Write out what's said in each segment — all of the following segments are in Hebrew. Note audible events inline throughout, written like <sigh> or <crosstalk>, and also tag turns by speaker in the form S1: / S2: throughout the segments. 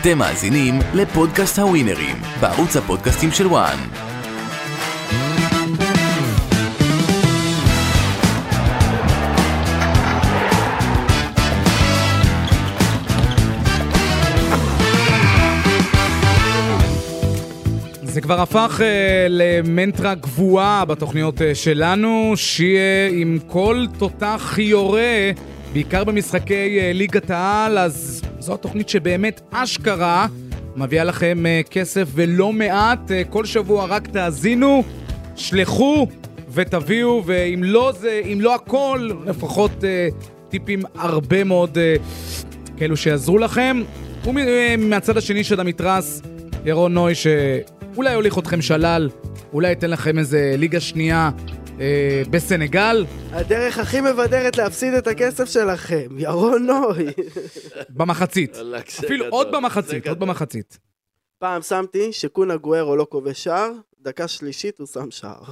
S1: אתם מאזינים לפודקאסט הווינרים, בערוץ הפודקאסטים של וואן.
S2: זה כבר הפך אה, למנטרה קבועה בתוכניות אה, שלנו, שיהיה עם כל תותח יורה, בעיקר במשחקי אה, ליגת העל, אז זו התוכנית שבאמת אשכרה מביאה לכם אה, כסף ולא מעט. אה, כל שבוע רק תאזינו, שלחו ותביאו, ואם לא זה, אם לא הכל, לפחות אה, טיפים הרבה מאוד אה, כאלו שיעזרו לכם. ומהצד השני של המתרס, ירון נוי, שאולי יוליך אתכם שלל, אולי ייתן לכם איזה ליגה שנייה אה, בסנגל.
S3: הדרך הכי מבדרת להפסיד את הכסף שלכם, ירון נוי.
S2: במחצית.
S4: וואלכ, <laughs> זה
S2: אפילו
S4: גדול,
S2: עוד
S4: זה
S2: במחצית, עוד
S4: גדול.
S2: במחצית.
S3: פעם שמתי שקונה גוארו לא כובש שער, דקה שלישית הוא שם שער.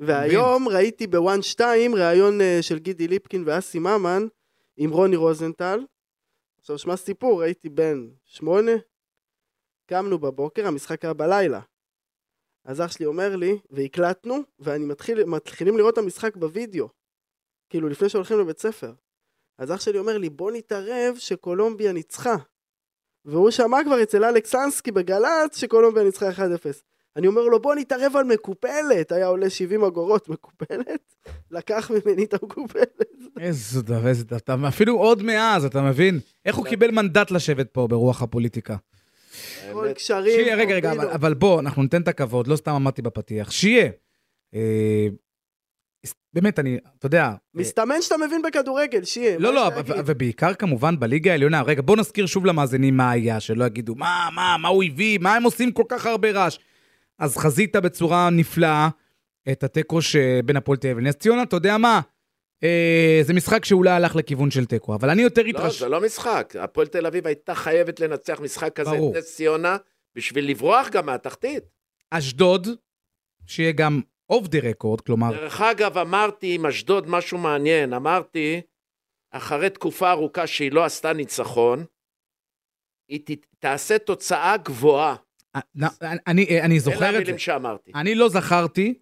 S3: והיום ראיתי בוואן 2 ראיון אה, של גידי ליפקין ואסי ממן עם רוני רוזנטל. עכשיו שמע סיפור, הייתי בן שמונה, קמנו בבוקר, המשחק היה בלילה. אז אח שלי אומר לי, והקלטנו, ואני מתחיל, מתחילים לראות את המשחק בווידאו. כאילו, לפני שהולכים לבית ספר. אז אח שלי אומר לי, בוא נתערב שקולומביה ניצחה. והוא שמע כבר אצל אלכס אנסקי בגל"צ שקולומביה ניצחה 1-0. אני אומר לו, בוא נתערב על מקופלת. היה עולה 70 אגורות מקופלת, לקח ממני את המקופלת.
S2: איזה דבר, איזה דבר. אתה אפילו עוד מאז, אתה מבין? איך
S4: כן.
S2: הוא קיבל מנדט לשבת פה ברוח הפוליטיקה?
S3: כל
S4: האמת,
S3: קשרים.
S2: שיהיה, רגע, רגע,
S3: קומבינות.
S2: אבל- אבל בוא, אנחנו ניתן את הכבוד, לא סתם אמרתי בפתיח. שיהיה. אה, באמת, אני, אתה יודע... אה,
S3: מסתמן שאתה מבין בכדורגל, שיהיה.
S2: לא,
S3: מה
S2: לא,
S3: יש
S2: ו-
S3: להגיד?
S2: ובעיקר כמובן בליגה העליונה. רגע, בוא נזכיר שוב למאזינים מה היה, שלא יגידו, מה, מה, מה הוא הביא, מה הם עושים כל כך הרבה רעש. אז חזית בצורה נפלאה את התיקו שבין הפועל תל אביב לנס ציונה, אתה יודע מה? אה, זה משחק שאולי הלך לכיוון של תיקו, אבל אני יותר
S4: לא,
S2: התרשמתי.
S4: זה לא משחק. הפועל תל אביב הייתה חייבת לנצח משחק כזה
S2: ברור.
S4: את נס ציונה, בשביל לברוח גם מהתחתית.
S2: אשדוד, שיהיה גם אוף דה רקורד, כלומר,
S4: דרך אגב, אמרתי עם אשדוד משהו מעניין. אמרתי, אחרי תקופה ארוכה שהיא לא עשתה ניצחון, היא ת- תעשה תוצאה גבוהה.
S2: אה, נ- אני- אה, אני
S4: אלה
S2: זוכר את זה.
S4: המילים שאמרתי.
S2: אני לא זכרתי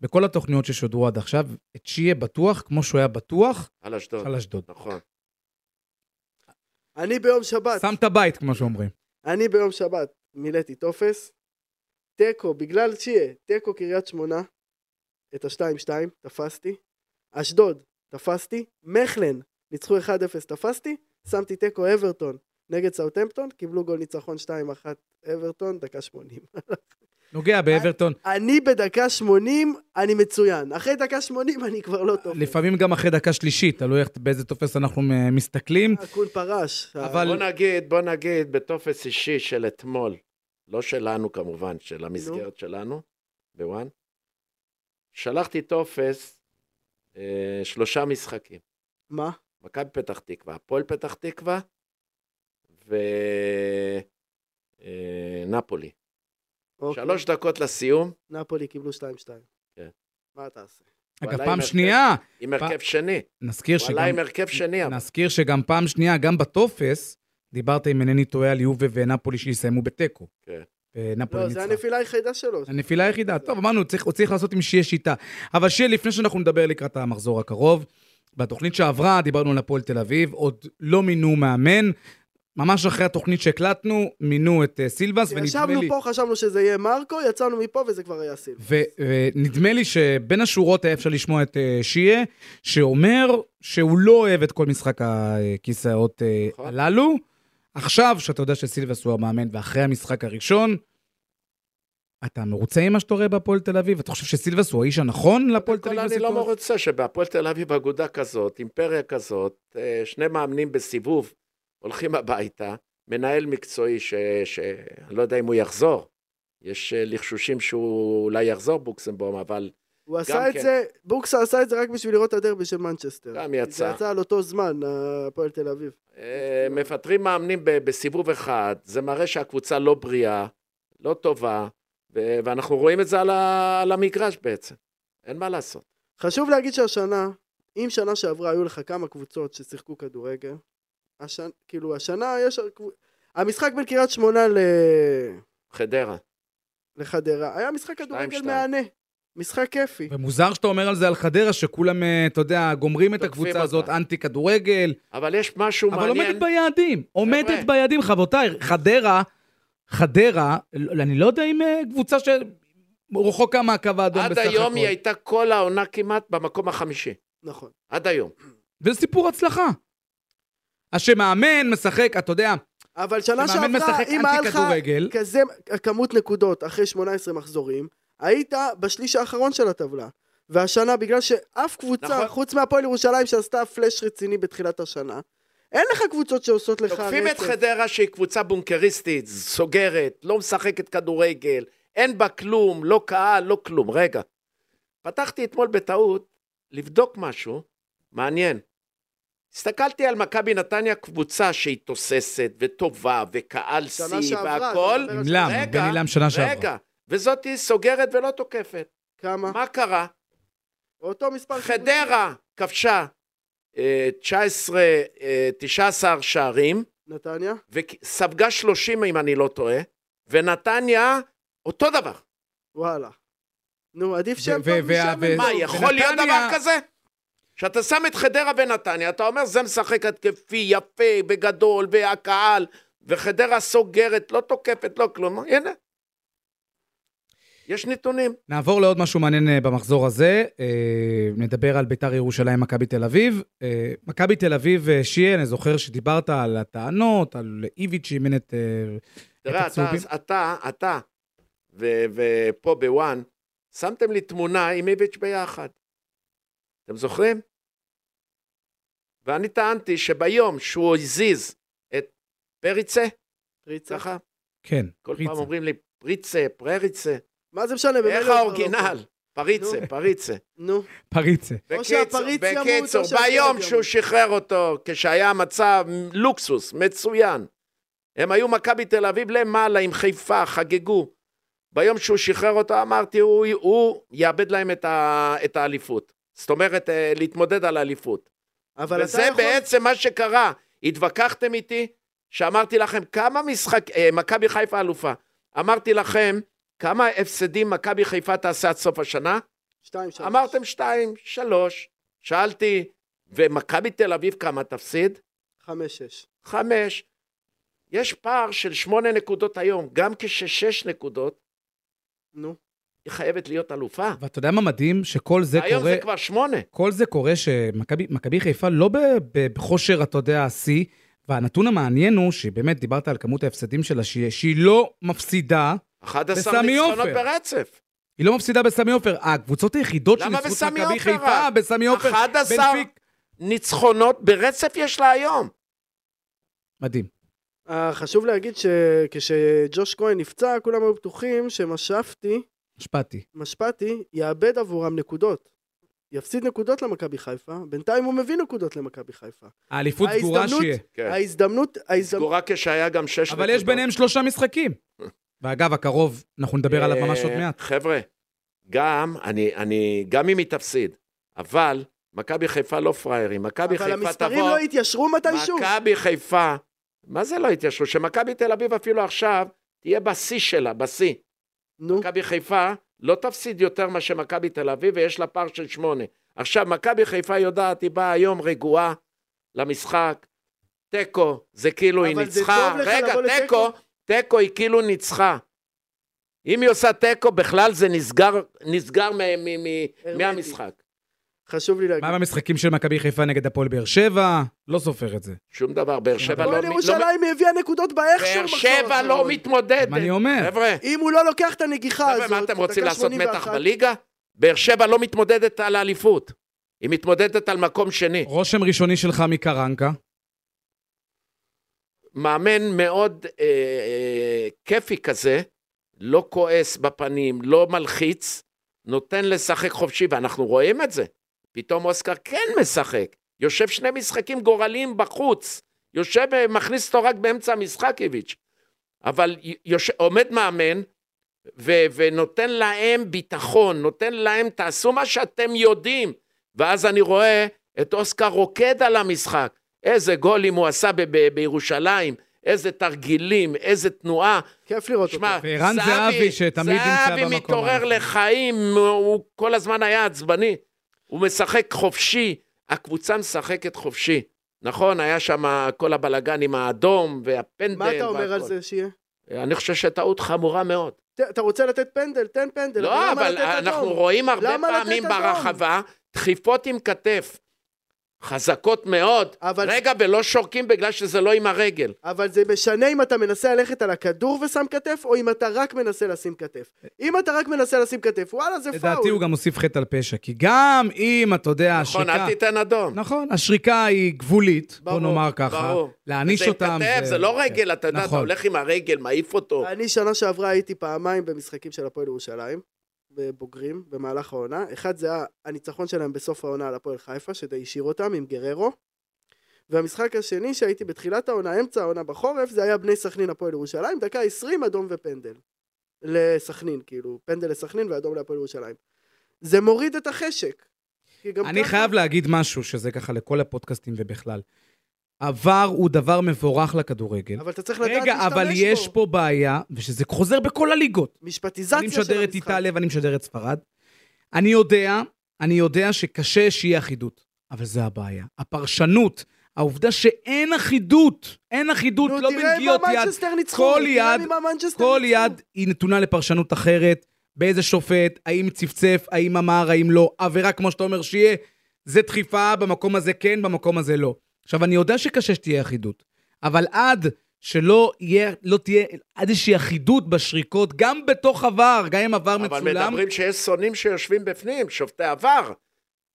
S2: בכל התוכניות ששודרו עד עכשיו, את שיהיה בטוח, כמו שהוא היה בטוח,
S4: על אשדוד.
S2: על אשדוד.
S4: נכון.
S3: אני ביום שבת.
S2: שם את הבית, כמו שאומרים.
S3: אני ביום שבת מילאתי טופס, תיקו, בגלל שיהיה, תיקו קריית שמונה, את ה-2-2 תפסתי, אשדוד תפסתי, מכלן ניצחו 1-0 תפסתי, שמתי תיקו אברטון נגד סאוטהמפטון, קיבלו גול ניצחון 2-1 אברטון, דקה 80.
S2: נוגע באברטון,
S3: <laughs> אני בדקה 80, אני מצוין. אחרי דקה 80 אני כבר לא טוב.
S2: לפעמים גם אחרי דקה שלישית, תלוי איך- באיזה טופס אנחנו אה, מסתכלים.
S3: הכול פרש.
S2: אבל-
S4: בוא נגיד, בוא נגיד, בטופס אישי של אתמול, לא שלנו כמובן, של המסגרת שלנו, בוואן, שלחתי טופס אה, שלושה משחקים.
S3: אה, מה?
S4: מכבי פתח תקווה, הפועל פתח תקווה ונפולי.
S3: אוקיי.
S4: אה, שלוש דקות לסיום,
S3: נפולי קיבלו 2-2.
S4: כן.
S3: מה תעשה?
S2: אגב,
S4: וואלה,
S2: פעם
S4: עם
S2: שנייה,
S4: עם הרכב שני.
S2: נזכיר
S4: וואלה,
S2: שגם...
S4: עם הרכב שני. אבל.
S2: נזכיר שגם פעם שנייה, גם בטופס, דיברת, אם אינני טועה, על יובה ונפולי שיסיימו בתיקו.
S4: כן.
S2: ונפולי
S3: לא, זה
S2: ניצחה.
S3: הנפילה היחידה שלו.
S2: הנפילה היחידה. טוב, אמרנו, צריך, הוא צריך לעשות עם שיהיה שיטה. אבל שיהיה, לפני שאנחנו נדבר לקראת המחזור הקרוב, בתוכנית שעברה דיברנו על הפועל תל אביב, עוד לא מינו מאמן. ממש אחרי התוכנית שהקלטנו, מינו את אה, סילבס, ונדמה
S3: ישבנו
S2: לי...
S3: פה, חשבנו שזה יהיה מרקו, יצאנו מפה וזה כבר היה סילבס.
S2: ו- ונדמה לי שבין השורות היה אפשר לשמוע את אה, שיה, שאומר שהוא לא אוהב את כל משחק הכיסאות אה,
S4: נכון.
S2: הללו. עכשיו, שאתה יודע שסילבס הוא המאמן, ואחרי המשחק הראשון, אתה מרוצה עם מה שאתה רואה בהפועל תל אביב? אתה חושב שסילבס הוא האיש הנכון להפועל תל
S4: כל
S2: אביב
S4: אני לא
S2: בסיטואציה?
S4: מרוצה שבהפועל תל אביב אגודה כזאת, אימפריה כזאת, אה, שני מאמנים בסיבוב הולכים הביתה, מנהל מקצועי ש... ש... אני לא יודע אם הוא יחזור, יש אה, לחשושים שהוא אולי יחזור בוקסמבום, אבל
S3: הוא
S4: גם
S3: עשה את
S4: כן.
S3: זה, בוקסה עשה את זה רק בשביל לראות את הדרבי של מנצ'סטר.
S4: גם
S3: כי זה
S4: יצא.
S3: יצא על אותו זמן, הפועל תל אביב.
S4: אה, מפטרים מאמנים ב- בסיבוב אחד, זה מראה שהקבוצה לא בריאה, לא טובה, ו- ואנחנו רואים את זה על, ה- על המגרש בעצם, אין מה לעשות.
S3: חשוב להגיד שהשנה, אם שנה שעברה היו לך כמה קבוצות ששיחקו כדורגל, השנה, כאילו השנה יש... המשחק בין קריית שמונה ל-
S4: חדרה.
S3: לחדרה היה משחק כדורגל
S4: שתיים.
S3: מהנה. משחק כיפי.
S2: ומוזר שאתה אומר על זה על חדרה, שכולם, אה, אתה יודע, גומרים את
S4: תוקפים
S2: הקבוצה
S4: אותה.
S2: הזאת, אנטי כדורגל,
S4: אבל יש משהו
S2: אבל
S4: מעניין.
S2: עומדת ביעדים. עומדת ביעדים, רבותיי, חדרה, חדרה, ל- אני לא יודע אם אה, קבוצה שרחוקה מהקו האדום
S4: עד
S2: בסך
S4: היום
S2: הכל.
S4: היא הייתה כל העונה כמעט במקום החמישי.
S3: נכון.
S4: עד היום.
S2: וזה סיפור הצלחה. אז שמאמן משחק, אתה יודע,
S3: אבל שנה
S2: שמאמן
S3: שעברה,
S2: משחק
S3: אם היה
S2: אנטי
S3: לך
S2: כדורגל,
S3: כזה אה, כמות נקודות אחרי 18 מחזורים, היית בשליש האחרון של הטבלה. והשנה, בגלל שאף קבוצה,
S4: נכון.
S3: נכון. חוץ מהפועל ירושלים שעשתה פלאש רציני בתחילת השנה, אין לך קבוצות שעושות לך
S4: תוקפים את חדרה שהיא קבוצה בונקריסטית, סוגרת, לא משחקת כדורגל, אין בה כלום, לא קהל, לא כלום. רגע, פתחתי אתמול בטעות לבדוק משהו מעניין. הסתכלתי על מכבי נתניה, קבוצה שהיא תוססת וטובה וקהל
S3: שנה
S4: שיא
S3: שעברה, אתה
S4: והכל.
S3: מדבר על
S2: עם לם,
S4: רגע,
S2: בן עילם שנה שעברה.
S4: רגע, וזאתי סוגרת ולא תוקפת.
S3: כמה?
S4: מה קרה?
S3: אותו מספר...
S4: חדרה כבשה אה, 19, אה, 19 שערים,
S3: נתניה?
S4: וספגה 30 אם אני לא טועה, ונתניה אותו דבר.
S3: וואלה. נו, עדיף
S2: ו-
S3: שם
S2: ו-
S3: טוב
S2: ו-
S3: משם.
S2: ו-
S3: אין
S4: מה,
S3: טוב.
S2: י-
S4: יכול להיות דבר
S2: ונתניה-
S4: כזה? כשאתה שם את חדרה ונתניה, אתה אומר זה משחק התקפי, יפה, בגדול, והקהל, וחדרה סוגרת, לא תוקפת, לא כלום, הנה. יש נתונים.
S2: נעבור לעוד משהו מעניין אה, במחזור הזה. אה, נדבר על ביתר ירושלים, מכבי תל אביב. אה, מכבי תל אביב, אה, שיהיה, אני זוכר שדיברת על הטענות, על איביץ' שאימן את... אה,
S4: תראה, אתה,
S2: הצהובים.
S4: אתה, אתה, ו- ופה בוואן, שמתם לי תמונה עם איביץ' ביחד. אתם זוכרים? ואני טענתי שביום שהוא הזיז את פריצה,
S3: ריצה.
S4: ככה,
S2: כן,
S4: כל
S2: פריצה.
S4: פעם אומרים לי פריצה, פרריצה,
S3: מה זה משנה? במילא הוא
S4: איך
S3: כבר לא
S4: האורגינל?
S3: פה.
S4: פריצה,
S3: נו.
S4: פריצה.
S3: נו,
S2: פריצה.
S3: או
S4: בקיצור,
S3: שהפריץ ימות, או
S4: בקיצור,
S3: שהפרק
S4: ביום
S3: ימות.
S4: שהוא שחרר אותו, כשהיה מצב לוקסוס, מצוין. הם היו מכבי תל אביב למעלה עם חיפה, חגגו. ביום שהוא שחרר אותו, אמרתי, הוא, הוא יאבד להם את, ה, את האליפות. זאת אומרת, אה, להתמודד על האליפות.
S3: אבל אתה
S4: וזה
S3: יכול...
S4: בעצם מה שקרה. התווכחתם איתי, שאמרתי לכם, כמה משחק... אה, מכבי חיפה אלופה. אמרתי לכם, כמה הפסדים מכבי חיפה תעשה עד סוף השנה?
S3: שתיים, שלוש.
S4: אמרתם שתיים, שלוש. שאלתי, ומכבי תל אביב כמה תפסיד?
S3: חמש, שש.
S4: חמש. יש פער של שמונה נקודות היום, גם כששש נקודות,
S3: נו.
S4: היא חייבת להיות אלופה.
S2: ואתה יודע מה מדהים? שכל זה
S4: היום
S2: קורה...
S4: זה כבר שמונה.
S2: כל זה קורה שמכבי מכבי חיפה לא ב- ב- בכושר, אתה יודע, השיא, והנתון המעניין הוא שבאמת דיברת על כמות ההפסדים שלה, שהיא, שהיא לא מפסידה,
S4: 11
S2: בסמי
S4: ניצחונות
S2: עופר.
S4: ברצף.
S2: היא לא מפסידה בסמי עופר. הקבוצות היחידות
S4: למה
S2: שניצחו את
S4: בסמי
S2: מכבי
S4: עופר
S2: חיפה,
S4: רק?
S2: בסמי עופר,
S4: 11
S2: בנפיק.
S4: ניצחונות ברצף יש לה היום.
S2: מדהים.
S3: אה, חשוב להגיד שכשג'וש כהן נפצע, כולם היו בטוחים שמשאפתי,
S2: השפעתי.
S3: משפטי, יאבד עבורם נקודות. יפסיד נקודות למכבי חיפה, בינתיים הוא מביא נקודות למכבי חיפה.
S2: האליפות סגורה
S3: ההזדמנות-
S2: שיהיה.
S3: ההזדמנות, ההזדמנות...
S4: כן. סגורה כשהיה גם שש נקודות.
S2: אבל יש ביניהם שלושה משחקים. ואגב, הקרוב, אנחנו נדבר עליו ממש עוד
S4: אה,
S2: מעט.
S4: חבר'ה, גם, אני, אני, גם אם היא תפסיד, אבל מכבי חיפה לא פראיירים. מכבי
S3: אבל
S4: חיפה
S3: המספרים
S4: תבוא...
S3: לא יתיישרו מתישהו.
S4: מכבי חיפה, מה זה לא התיישרו? שמכבי תל אביב אפילו עכשיו תהיה בשיא שלה, בשיא.
S3: נו,
S4: מכבי חיפה לא תפסיד יותר מה שמכבי תל אביב, ויש לה פער של שמונה. עכשיו, מכבי חיפה יודעת, היא באה היום רגועה למשחק. תיקו, זה כאילו היא
S3: אבל זה
S4: ניצחה.
S3: טוב לך
S4: רגע,
S3: לבוא
S4: תיקו, תיקו היא כאילו ניצחה. אם היא עושה תיקו, בכלל זה נסגר, נסגר מ- מ- מ-
S3: הרמטי.
S4: מהמשחק.
S3: חשוב לי להגיד.
S2: מה עם המשחקים של מכבי חיפה נגד הפועל באר שבע? לא סופר את זה.
S4: שום דבר, באר שבע לא...
S3: הפועל
S4: מ- לא-
S3: ירושלים הביאה נקודות באיכשהו.
S4: באר
S3: מחזור
S4: שבע לא
S3: אחרון.
S4: מתמודדת.
S2: מה אני אומר?
S4: חבר'ה,
S3: אם הוא לא לוקח את הנגיחה הזאת,
S4: חבר'ה, מה אתם רוצים
S3: דקה
S4: לעשות מתח
S3: 81,
S4: בליגה? באר שבע לא מתמודדת על האליפות. היא מתמודדת על מקום שני.
S2: רושם ראשוני שלך מקרנקה.
S4: מאמן מאוד אה, אה, כיפי כזה, לא כועס בפנים, לא מלחיץ, נותן לשחק חופשי, ואנחנו רואים את זה. פתאום אוסקר כן משחק. יושב שני משחקים גורליים בחוץ. יושב, אה, מכניס אותו רק באמצע המשחק, איביץ'. אבל י- יוש... עומד מאמן ו... ונותן להם ביטחון, נותן להם, תעשו מה שאתם יודעים. ואז אני רואה את אוסקר רוקד על המשחק. איזה גולים הוא עשה ב- ב- בירושלים, איזה תרגילים, איזה תנועה.
S3: כיף לראות אותו.
S4: שמע,
S2: וערן זהבי שתמיד נמצא במקום
S4: זהבי מתעורר
S2: הנכון.
S4: לחיים, הוא- הוא כל הזמן היה עצבני. הוא משחק חופשי, הקבוצה משחקת חופשי. נכון, היה שם כל הבלגן עם האדום והפנדל.
S3: מה אתה אומר
S4: והכל.
S3: על זה שיהיה?
S4: אני חושב שטעות חמורה מאוד.
S3: ת- אתה רוצה לתת פנדל, תן פנדל.
S4: לא,
S3: למה
S4: אבל
S3: לתת אדום?
S4: אנחנו רואים הרבה
S3: למה לתת
S4: פעמים
S3: אדום?
S4: ברחבה דחיפות עם כתף. חזקות מאוד.
S3: אבל-
S4: רגע, ולא שורקים בגלל שזה לא עם הרגל.
S3: אבל זה משנה אם אתה מנסה ללכת על הכדור ושם כתף, או אם אתה רק מנסה לשים כתף. אם אתה רק מנסה לשים כתף, וואלה, זה פאול.
S2: לדעתי הוא גם הוסיף חטא על פשע, כי גם אם, אתה יודע,
S4: נכון,
S2: השריקה...
S4: אל תיתן אדום.
S2: נכון, השריקה היא גבולית,
S3: ברור,
S2: בוא נאמר ככה.
S4: ברור.
S2: להעניש
S4: זה עם
S2: אותם.
S4: כתף, זה לא רגל, אתה יודע, אתה
S2: נכון.
S4: הולך עם הרגל, מעיף
S2: לא.
S4: אותו.
S3: אני שנה שעברה הייתי פעמיים במשחקים של הפועל ירושלים, בבוגרים, במהלך העונה. אחד זה היה הניצחון שלהם בסוף העונה על הפועל חיפה, שזה השאיר אותם עם גררו. והמשחק השני שהייתי בתחילת העונה, אמצע העונה בחורף, זה היה בני סכנין הפועל ירושלים, דקה 20 אדום ופנדל. לסכנין, כאילו, פנדל לסכנין ואדום להפועל ירושלים. זה מוריד את החשק. כי גם
S2: אני
S3: ככה-
S2: חייב להגיד משהו, שזה ככה לכל הפודקאסטים ובכלל. עבר הוא דבר מבורך לכדורגל.
S3: אבל אתה צריך לדעת
S2: כן. רגע,
S3: להשתמש בו.
S2: אבל יש פה בעיה, ושזה חוזר בכל הליגות.
S3: משפטיזציה של
S2: אני
S3: המשחק.
S2: משדר את איטליה ואני משדר את ספרד. אני יודע, אני יודע שקשה שיהיה אחידות, אבל זה הבעיה. הפרשנות, העובדה שאין אחידות, אין אחידות,
S3: נו,
S2: לא
S3: תראה
S2: בנגיעות
S3: מה
S2: יד.
S3: מנצ'סטר ניצחו,
S2: כל
S3: תראה
S2: יד-
S3: ממה מנצ'סטר
S2: כל
S3: ניצחו.
S2: יד היא נתונה לפרשנות אחרת, באיזה שופט, האם צפצף, האם אמר, האם לא. עבירה, כמו שאתה אומר, שיהיה, זה דחיפה, במקום הזה כן, במקום הזה לא. עכשיו, אני יודע שקשה שתהיה אחידות, אבל עד שלא יהיה, לא תהיה עד איזושהי אחידות בשריקות, גם בתוך עבר, גם אם
S3: לא
S2: עבר
S4: אבל
S2: מצולם,
S4: מדברים שיש שונאים שיושבים בפנים, שופטי עבר.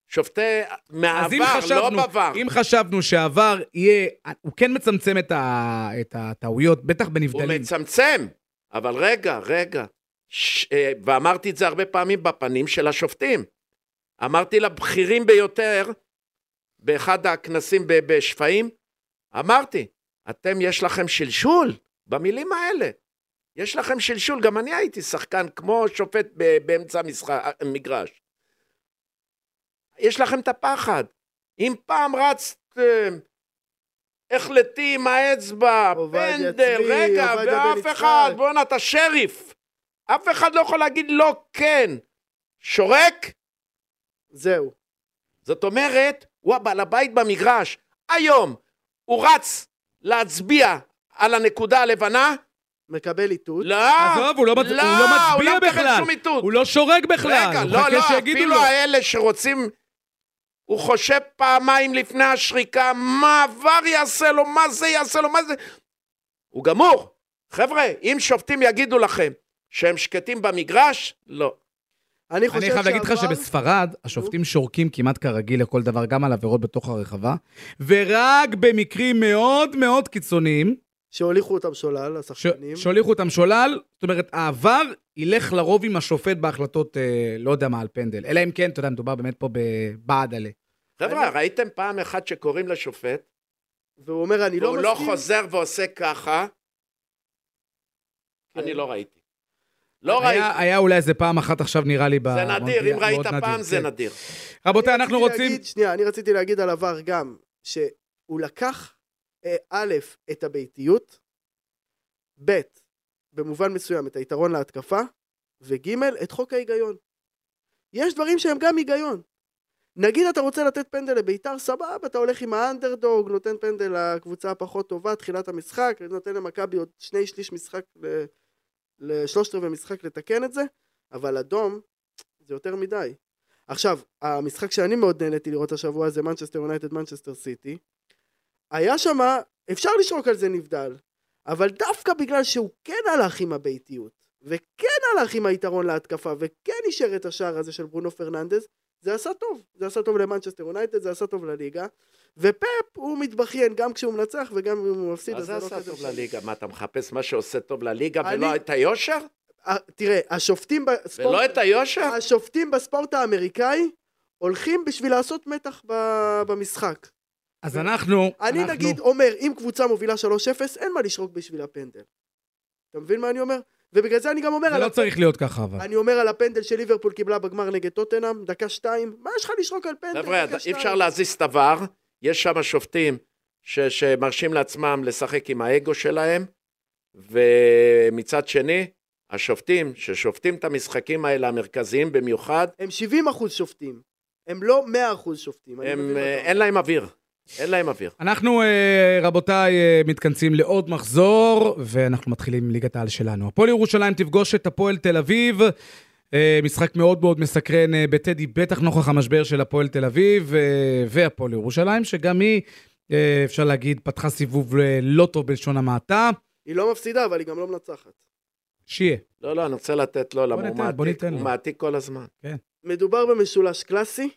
S4: שופטי
S2: אז אם
S4: מהעבר, לא
S2: חשבנו,
S4: בעבר.
S2: אם חשבנו שהעבר יהיה, הוא כן מצמצם את, ה, את הטעויות, בטח
S4: הוא
S2: בנבדלים.
S4: מצמצם. אבל רגע, רגע. ש... אה, ואמרתי את זה הרבה פעמים בפנים של השופטים. אמרתי לבכירים ביותר, באחד הכנסים ב- בשפיים, אמרתי, אתם יש לכם שלשול, במילים האלה. יש לכם שלשול, גם אני הייתי שחקן כמו שופט ב- באמצע משחק, מגרש. יש לכם את הפחד. אם פעם רצתם, החלטי עם האצבע,
S3: עובדיה
S4: פנדל,
S3: צבי,
S4: רגע,
S3: עובדיה בן
S4: ואף
S3: יצחק.
S4: אחד, בואנה, אתה שריף. אף אחד לא יכול להגיד לא, כן. שורק,
S3: זהו.
S4: זאת אומרת, הוא הבעל הבית במגרש. היום הוא רץ להצביע על הנקודה הלבנה?
S3: מקבל איתות.
S4: לא!
S2: עזוב, הוא לא, מצ... הוא לא
S4: הוא
S2: מצביע
S4: לא מקבל
S2: בכלל.
S4: שום איתות.
S2: הוא לא שורק בכלל.
S4: רגע,
S2: הוא
S4: לא,
S2: מחכה
S4: לא,
S2: שיגידו
S4: אפילו
S2: לו.
S4: האלה שרוצים... הוא חושב פעמיים לפני השריקה, מה עבר יעשה לו, מה זה יעשה לו, מה זה... הוא גמור. חבר'ה, אם שופטים יגידו לכם שהם שקטים במגרש, לא.
S3: אני חושב
S2: אני חייב להגיד לך
S3: שעבר-
S2: שבספרד, השופטים שורקים כמעט כרגיל לכל דבר, גם על עבירות בתוך הרחבה, ורק במקרים מאוד מאוד קיצוניים,
S3: שהוליכו אותם שולל,
S2: ש-
S3: השחקנים.
S2: שהוליכו אותם שולל, זאת אומרת, העבר ילך לרוב עם השופט בהחלטות, אה, לא יודע מה, על פנדל. אלא אם כן, אתה יודע, מדובר באמת פה בבעד עלה.
S4: חבר'ה, ראיתם פעם אחת שקוראים לשופט?
S3: והוא אומר, אני לא
S4: והוא לא
S3: מסכים.
S4: חוזר ועושה ככה,
S3: כן.
S4: אני לא ראיתי. לא ראיתי.
S2: היה היה אולי איזה פעם אחת עכשיו, נראה לי,
S4: זה
S2: במונדיאל.
S4: נדיר, אם ראית
S2: מאוד
S4: פעם זה
S2: כן.
S4: נדיר.
S2: רבותיי,
S3: אני
S2: אנחנו
S3: רציתי
S2: רוצים...
S3: להגיד, שנייה, אני רציתי להגיד על עבר גם, שהוא לקח, אה, א', את הביתיות, ב', במובן מסוים, את היתרון להתקפה, וג', את חוק ההיגיון. יש דברים שהם גם היגיון. נגיד אתה רוצה לתת פנדל לביתר, סבבה, אתה הולך עם האנדרדוג, נותן פנדל לקבוצה הפחות טובה, תחילת המשחק, נותן למכבי עוד שני שליש משחק, ל- לשלושת רבעי משחק לתקן את זה, אבל אדום, זה יותר מדי. עכשיו, המשחק שאני מאוד נהניתי לראות השבוע זה מנצ'סטר יונייטד, מנצ'סטר סיטי. היה שם, אפשר לשרוק על זה נבדל, אבל דווקא בגלל שהוא כן הלך עם הביתיות, וכן הלך עם היתרון להתקפה, וכן אישר את השער הזה של ברונו פרננדז, זה עשה טוב. זה עשה טוב למנצ'סטר יונייטד, זה עשה טוב לליגה, ופפ הוא מתבכיין גם כשהוא מנצח וגם אם הוא מפסיד,
S4: מה זה
S3: לא
S4: עשה
S3: כזה
S4: טוב
S3: משנה.
S4: לליגה? מה, אתה מחפש מה שעושה טוב לליגה
S3: אני-
S4: ולא את היושר?
S3: אה, תראה, השופטים בספורט...
S4: ולא את
S3: אה,
S4: היושר?
S3: השופטים בספורט האמריקאי הולכים בשביל לעשות מתח ב- במשחק.
S2: אז אנחנו...
S3: אני
S2: אנחנו-
S3: נגיד אומר, אם קבוצה מובילה 3-0, אין מה לשרוק בשביל הפנדל. אתה מבין מה אני אומר? ובגלל זה אני גם אומר,
S2: זה
S3: על
S2: לא
S3: הפ-
S2: צריך להיות ככה, אבל.
S3: אני אומר על הפנדל שליברפול קיבלה בגמר נגד טוטנאם, דקה שתיים, מה יש לך לשרוק על פנדל?
S4: חבר'ה,
S3: דקה
S4: אי
S3: שתיים?
S4: אפשר להזיז את הוואר, יש שם שופטים ש, שמרשים לעצמם לשחק עם האגו שלהם, ומצד שני, השופטים ששופטים את המשחקים האלה, המרכזיים במיוחד,
S3: הם 70 אחוז שופטים. הם לא 100 אחוז שופטים. אני מבין
S4: הם, אה,
S3: אותם.
S4: אין להם אוויר. אין להם אוויר.
S2: אנחנו, אה, רבותיי, אה, מתכנסים לעוד מחזור, ואנחנו מתחילים עם ליגת העל שלנו. הפועל ירושלים תפגוש את הפועל תל אביב. אה, משחק מאוד מאוד מסקרן אה, בטדי, בטח נוכח המשבר של הפועל תל אביב אה, והפועל ירושלים, שגם היא, אה, אפשר להגיד, פתחה סיבוב אה, לא טוב בלשון המעטה.
S3: היא לא מפסידה, אבל היא גם לא מנצחת.
S2: שיהיה.
S4: לא, לא, אני רוצה לתת לו, למה
S2: ניתן,
S4: הוא
S2: בוא
S4: מעתיק,
S2: ניתן
S4: הוא
S2: לו.
S4: מעתיק כל הזמן.
S3: מדובר במשולש קלאסי.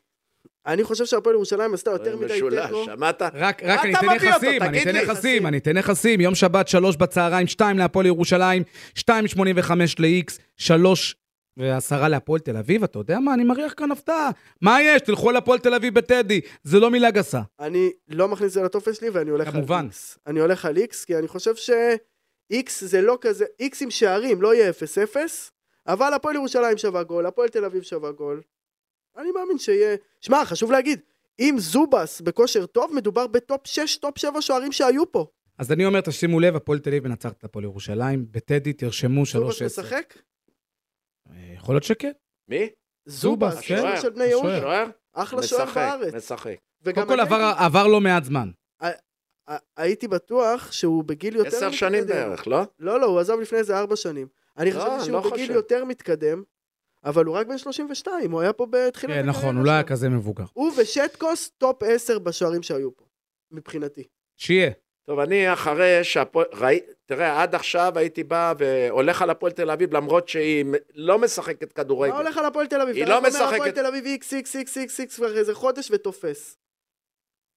S3: אני חושב שהפועל ירושלים עשתה יותר מדי
S4: אה, משולש,
S3: תיקו.
S4: שמעת?
S2: רק,
S4: מה
S2: רק אני
S4: אתה
S2: אתן
S4: מביא אותו?
S2: יחסים, אני
S4: תגיד
S2: אתן
S4: לי.
S2: יחסים, אני אתן יחסים. יום שבת, שלוש בצהריים, שתיים להפועל ירושלים, 2.85 ל-X, שלוש ועשרה להפועל תל אביב. אתה יודע מה, אני מריח כאן הפתעה. מה יש? תלכו להפועל תל אביב בטדי. זה לא מילה גסה.
S3: אני לא מכניס את זה לטופס שלי ואני הולך
S2: כמובן.
S3: על איקס. אני הולך על איקס, כי אני חושב שאיקס זה לא כזה, איקס עם שערים, לא יהיה 0-0, אבל הפועל ירושלים שווה גול, הפועל תל אביב שווה גול. אני מאמין שיהיה... שמע, חשוב להגיד, אם זובס בכושר טוב, מדובר בטופ 6, טופ 7 שוערים שהיו פה.
S2: אז אני אומר, תשימו לב, הפועל תל אביב מנצחת את הפועל ירושלים. בטדי תרשמו 3-10.
S3: זובס משחק?
S2: אה, יכול להיות שכן.
S4: מי?
S3: זובס,
S2: זובס,
S4: כן.
S3: שוער של בני
S2: השוער.
S3: יהודה.
S4: שוער?
S3: אחלה שוער
S4: משחק,
S3: בארץ.
S4: משחק.
S3: וגם
S2: קודם כל,
S3: אני
S2: עבר- עבר לא מעט זמן.
S3: הייתי- הייתי בטוח שהוא בגיל יותר...
S4: עשר שנים
S3: מתקדם.
S4: בערך, לא?
S3: לא, לא, הוא עזב לפני איזה ארבע שנים. אני
S4: לא,
S3: חשבתי
S4: אני
S3: שהוא
S4: לא
S3: בגיל
S4: חושב.
S3: יותר מתקדם, אבל הוא רק בן 32, הוא היה פה בתחילת...
S2: כן, נכון,
S3: הקריירה
S2: הוא לא היה
S3: שלו.
S2: כזה מבוגר.
S3: הוא ושטקוס טופ 10 בשוערים שהיו פה, מבחינתי.
S2: שיהיה.
S4: טוב, אני אחרי שהפועל... ראי... תראה, עד עכשיו הייתי בא והולך על הפועל תל אביב, למרות שהיא מ- לא משחקת
S3: מה
S4: כדורגל.
S3: הולך על הפועל תל אביב?
S4: היא
S3: אתה רק
S4: לא
S3: אומר הפועל
S4: משחקת.
S3: תל אביב איקס, איקס, איקס, איקס, איקס, כבר איזה חודש ותופס.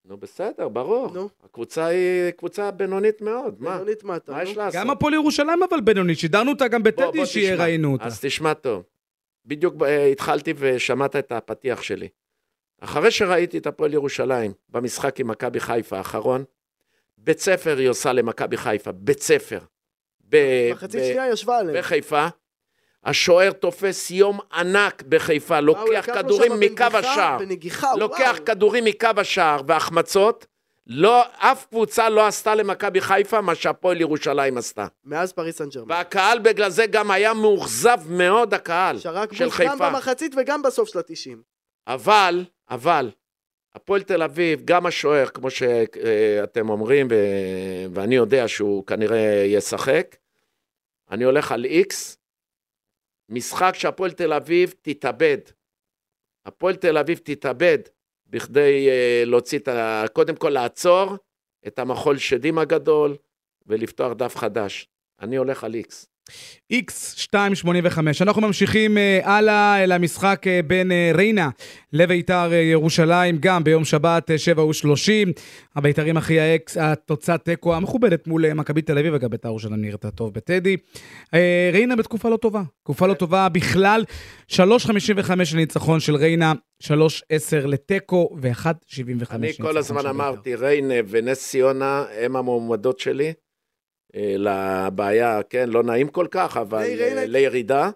S4: נו, בסדר, ברור.
S3: נו.
S4: הקבוצה היא קבוצה בינונית מאוד, מה?
S3: בינונית מטה,
S4: מה
S3: נו.
S4: יש לעשות?
S2: גם הפועל ירושלים אבל בינונית, שידרנו אותה גם
S4: בוא, בוא
S2: בטדי, שיהיה,
S4: תשמע.
S2: ראינו אותה.
S4: אז תשמע טוב. בדיוק אה, התחלתי ושמעת את הפתיח שלי. אחרי שראיתי את הפועל ירושלים במשחק עם מכבי חיפה האחרון, בית ספר היא עושה למכבי חיפה, בית ספר. ב-
S3: מחצית
S4: ב-
S3: שנייה ישבה עליהם.
S4: בחיפה. השוער תופס יום ענק בחיפה,
S3: מה, הוא לקח
S4: לוקח
S3: לו
S4: כדורים
S3: שם
S4: מקו
S3: בנגיחה?
S4: השער.
S3: בנגיחה,
S4: לוקח
S3: וואו.
S4: כדורים מקו השער והחמצות. לא, אף קבוצה לא עשתה למכבי חיפה מה שהפועל ירושלים עשתה.
S3: מאז פריס סן ג'רמן.
S4: והקהל בגלל זה גם היה מאוכזב מאוד, הקהל
S3: שרק
S4: של
S3: בוז גם
S4: חיפה.
S3: במחצית וגם בסוף של התשעים.
S4: אבל, אבל, הפועל תל אביב, גם השוער, כמו שאתם אומרים, ו... ואני יודע שהוא כנראה ישחק, אני הולך על איקס, משחק שהפועל תל אביב תתאבד. הפועל תל אביב תתאבד בכדי אה, להוציא את ה... קודם כל לעצור את המחול שדים הגדול ולפתוח דף חדש. אני הולך על איקס.
S2: X285. אנחנו ממשיכים אה, הלאה אל המשחק אה, בין אה, ריינה לביתר אה, ירושלים, גם ביום שבת, אה, 7 ו-30. הביתרים אחי האקס, התוצאת תיקו המכובדת מול אה, מכבי תל אביב, אגב, ביתר ירושלים נראתה טוב בטדי. אה, ריינה בתקופה לא טובה, תקופה לא טובה בכלל. 3.55 לניצחון של ריינה, 3.10 לתיקו ו-1.75
S4: אני כל הזמן
S2: של בית"ר.
S4: אמרתי, ריינה ונס ציונה הם המועמדות שלי אה, לבעיה, כן, לא נעים כל כך, אבל
S3: היי, ריינה-
S4: אה, לירידה.